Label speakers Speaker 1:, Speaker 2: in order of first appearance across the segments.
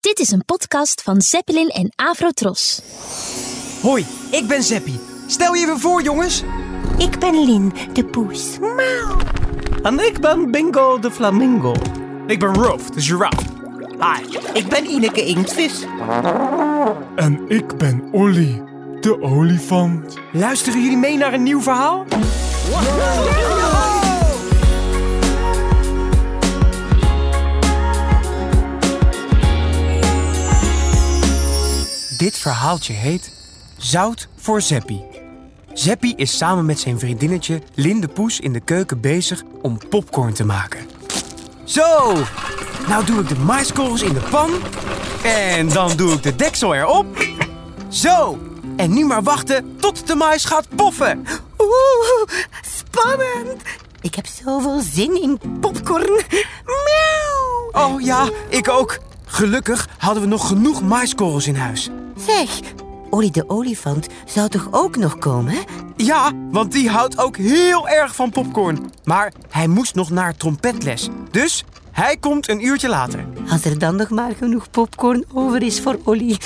Speaker 1: Dit is een podcast van Zeppelin en Avrotros.
Speaker 2: Hoi, ik ben Zeppie. Stel je even voor, jongens.
Speaker 3: Ik ben Lin, de poes. Mauw.
Speaker 4: En ik ben Bingo de Flamingo.
Speaker 5: Ik ben Roof, de giraffe.
Speaker 6: Hi, ik ben Ineke Inktvis.
Speaker 7: En ik ben Olly, de olifant.
Speaker 2: Luisteren jullie mee naar een nieuw verhaal? Wow. Dit verhaaltje heet Zout voor Zeppie. Zeppie is samen met zijn vriendinnetje Linde Poes in de keuken bezig om popcorn te maken. Zo, nou doe ik de maiskorrels in de pan. En dan doe ik de deksel erop. Zo, en nu maar wachten tot de mais gaat poffen.
Speaker 3: Oeh, spannend. Ik heb zoveel zin in popcorn. Miauw.
Speaker 2: Oh ja, ik ook. Gelukkig hadden we nog genoeg maiskorrels in huis.
Speaker 3: Zeg, Olly de olifant zou toch ook nog komen?
Speaker 2: Ja, want die houdt ook heel erg van popcorn. Maar hij moest nog naar trompetles. Dus hij komt een uurtje later.
Speaker 3: Als er dan nog maar genoeg popcorn over is voor Olly.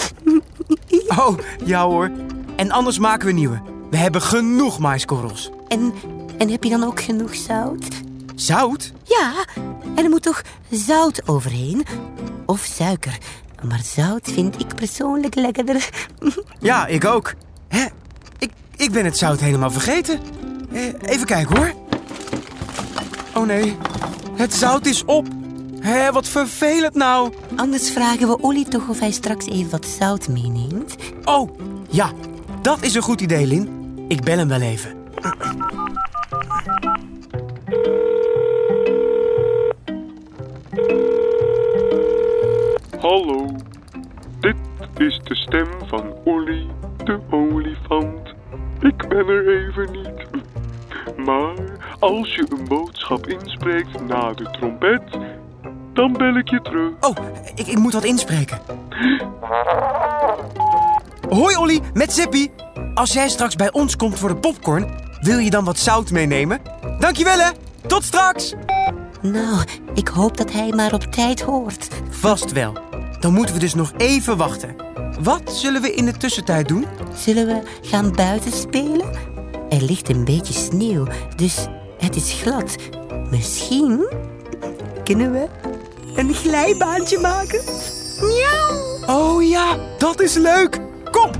Speaker 2: oh, ja hoor. En anders maken we nieuwe. We hebben genoeg maiskorrels.
Speaker 3: En, en heb je dan ook genoeg zout?
Speaker 2: Zout?
Speaker 3: Ja, en er moet toch zout overheen? Of suiker? Maar zout vind ik persoonlijk lekkerder.
Speaker 2: Ja, ik ook. Hè? Ik, ik ben het zout helemaal vergeten. Eh, Even kijken hoor. Oh nee, het zout is op. Hé, wat vervelend nou.
Speaker 3: Anders vragen we Olly toch of hij straks even wat zout meeneemt.
Speaker 2: Oh, ja, dat is een goed idee, Lin. Ik bel hem wel even.
Speaker 8: Hallo, dit is de stem van Olly de olifant. Ik ben er even niet. Maar als je een boodschap inspreekt na de trompet, dan bel ik je terug.
Speaker 2: Oh, ik, ik moet wat inspreken. Hoi Olly, met Zippy. Als jij straks bij ons komt voor de popcorn, wil je dan wat zout meenemen? Dankjewel hè, tot straks!
Speaker 3: Nou, ik hoop dat hij maar op tijd hoort.
Speaker 2: Vast wel. Dan moeten we dus nog even wachten. Wat zullen we in de tussentijd doen?
Speaker 3: Zullen we gaan buiten spelen? Er ligt een beetje sneeuw, dus het is glad. Misschien kunnen we een glijbaantje maken. Miauw!
Speaker 2: Oh ja, dat is leuk! Kom!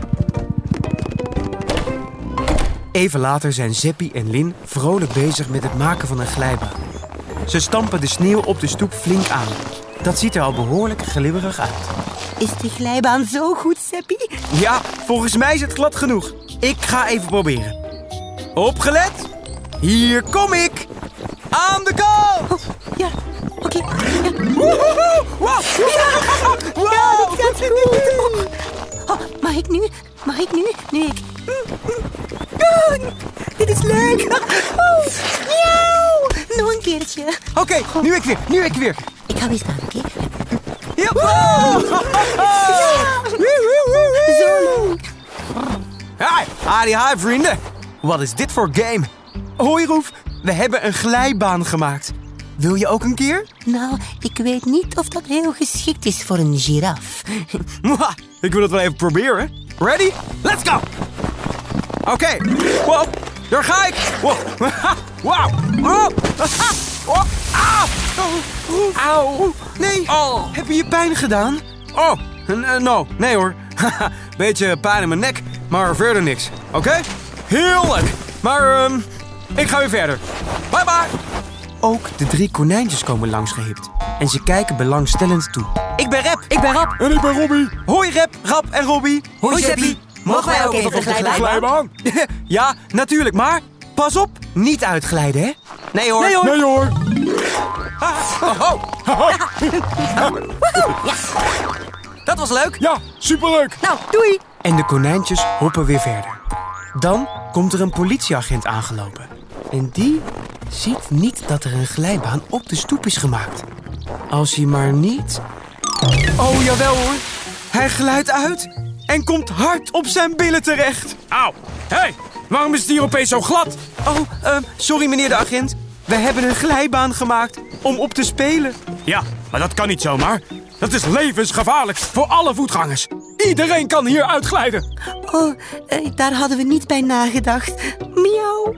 Speaker 2: Even later zijn Zeppie en Lin vrolijk bezig met het maken van een glijbaan. Ze stampen de sneeuw op de stoep flink aan. Dat ziet er al behoorlijk glibberig uit.
Speaker 3: Is de glijbaan zo goed, Zeppie?
Speaker 2: Ja, volgens mij is het glad genoeg. Ik ga even proberen. Opgelet! Hier kom ik! Aan de kant!
Speaker 3: Oh, ja, oké. Okay. Ja.
Speaker 2: Woehoe! Wow!
Speaker 3: Ja! Wow! ja, dat gaat goed! Oh, mag ik nu? Mag ik nu? Nu ik. Oh, dit is leuk! Oh, miauw! Nog een keertje.
Speaker 2: Oké, okay, nu ik weer, nu ik weer.
Speaker 3: Ik ga weer staan, oké? Okay?
Speaker 2: Ja! Wow!
Speaker 3: ja. Zo leuk!
Speaker 2: Hi, howdy, hi vrienden! Wat is dit voor game? Hoi Roef, we hebben een glijbaan gemaakt. Wil je ook een keer?
Speaker 3: Nou, ik weet niet of dat heel geschikt is voor een giraf.
Speaker 2: ik wil het wel even proberen. Ready? Let's go! Oké, okay. wow, daar ga ik! Wow, wow, wow! Oh, ah! Oh, Auw! Nee! Oh. Heb je je pijn gedaan? Oh, no, nee hoor. Beetje pijn in mijn nek, maar verder niks. Oké? Okay? Heerlijk! Maar um, ik ga weer verder. Bye bye! Ook de drie konijntjes komen langsgehipt. En ze kijken belangstellend toe. Ik ben Rep.
Speaker 9: Ik ben Rap.
Speaker 7: En ik ben Robbie.
Speaker 2: Hoi Rep, Rap en Robbie.
Speaker 9: Hoi, Hoi Zeppie. Mogen wij ook even op de glijbaan?
Speaker 2: ja, natuurlijk. Maar pas op, niet uitglijden, hè?
Speaker 9: Nee hoor.
Speaker 2: Nee hoor.
Speaker 7: Nee, hoor.
Speaker 2: Ah, oh, oh.
Speaker 9: ja. Dat was leuk.
Speaker 7: Ja, superleuk.
Speaker 9: Nou, doei.
Speaker 2: En de konijntjes hoppen weer verder. Dan komt er een politieagent aangelopen. En die ziet niet dat er een glijbaan op de stoep is gemaakt. Als hij maar niet... Oh, jawel hoor. Hij glijdt uit en komt hard op zijn billen terecht.
Speaker 5: Auw. Hé, hey, waarom is het hier opeens zo glad?
Speaker 2: Oh, uh, sorry meneer de agent. We hebben een glijbaan gemaakt om op te spelen.
Speaker 5: Ja, maar dat kan niet zomaar.
Speaker 2: Dat is levensgevaarlijk voor alle voetgangers. Iedereen kan hier uitglijden.
Speaker 3: Oh, eh, daar hadden we niet bij nagedacht. Miauw.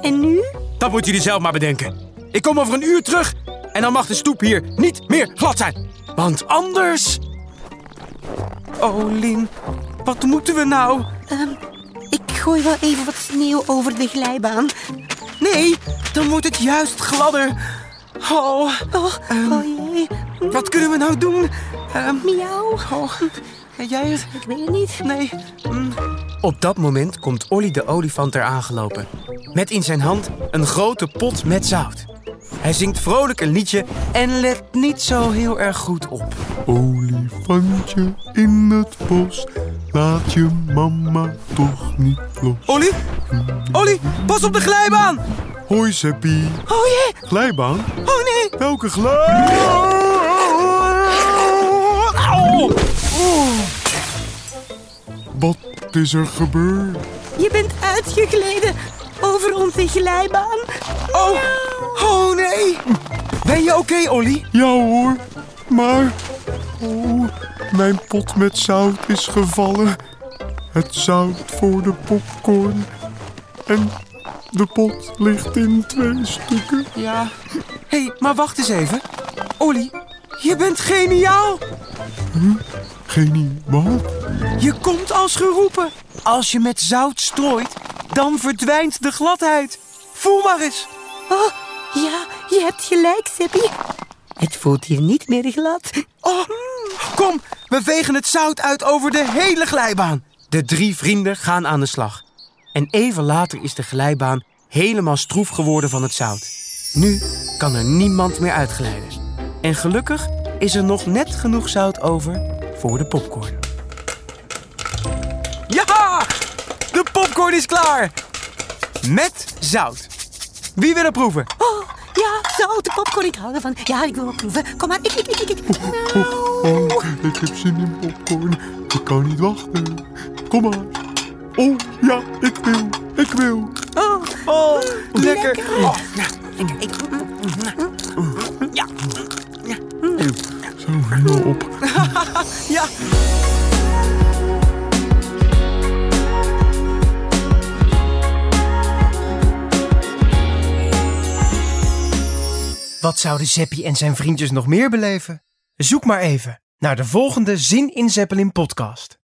Speaker 3: En nu?
Speaker 2: Dat moeten jullie zelf maar bedenken. Ik kom over een uur terug en dan mag de stoep hier niet meer glad zijn. Want anders... Oh, Lien, wat moeten we nou?
Speaker 3: Ik gooi wel even wat sneeuw over de glijbaan.
Speaker 2: Nee, dan wordt het juist gladder. Oh,
Speaker 3: Oh, oh jee.
Speaker 2: wat kunnen we nou doen? Ehm,
Speaker 3: Miauw.
Speaker 2: weet jij het?
Speaker 3: Ik weet het niet.
Speaker 2: Nee. mm. Op dat moment komt Olly de olifant eraan gelopen. Met in zijn hand een grote pot met zout. Hij zingt vrolijk een liedje en let niet zo heel erg goed op.
Speaker 7: Olifantje in het bos, laat je mama toch niet los.
Speaker 2: Olly? Olly, pas op de glijbaan!
Speaker 7: Hoi Seppie,
Speaker 2: Oh jee!
Speaker 7: glijbaan?
Speaker 2: Oh nee!
Speaker 7: Welke glijbaan?
Speaker 2: Au!
Speaker 7: Wat is er gebeurd?
Speaker 3: Je bent uitgegleden over onze glijbaan.
Speaker 2: Oh! Oh nee! Ben je oké, Olly?
Speaker 7: Ja hoor, maar... Oh, mijn pot met zout is gevallen. Het zout voor de popcorn. En de pot ligt in twee stukken.
Speaker 2: Ja. Hé, hey, maar wacht eens even. Olly, je bent geniaal!
Speaker 7: Genie, wat?
Speaker 2: Je komt als geroepen. Als je met zout strooit, dan verdwijnt de gladheid. Voel maar eens.
Speaker 3: Oh, ja, je hebt gelijk, Seppi. Het voelt hier niet meer glad.
Speaker 2: Oh, kom, we vegen het zout uit over de hele glijbaan. De drie vrienden gaan aan de slag. En even later is de glijbaan helemaal stroef geworden van het zout. Nu kan er niemand meer uitglijden. En gelukkig is er nog net genoeg zout over voor de popcorn. Ja! De popcorn is klaar! Met zout. Wie wil er proeven?
Speaker 3: Oh, ja, zouten popcorn. Ik hou ervan. Ja, ik wil ook proeven. Kom maar. Ik, ik, ik, ik, ik.
Speaker 7: Oh, ik heb zin in popcorn. Ik kan niet wachten. Kom maar. Oh, ja, ik wil. Ik wil.
Speaker 3: Oh,
Speaker 2: Oh,
Speaker 3: lekker.
Speaker 7: Zo, helemaal op.
Speaker 2: Ja.
Speaker 10: Wat zouden Zeppie en zijn vriendjes nog meer beleven? Zoek maar even naar de volgende Zin in Zeppelin podcast.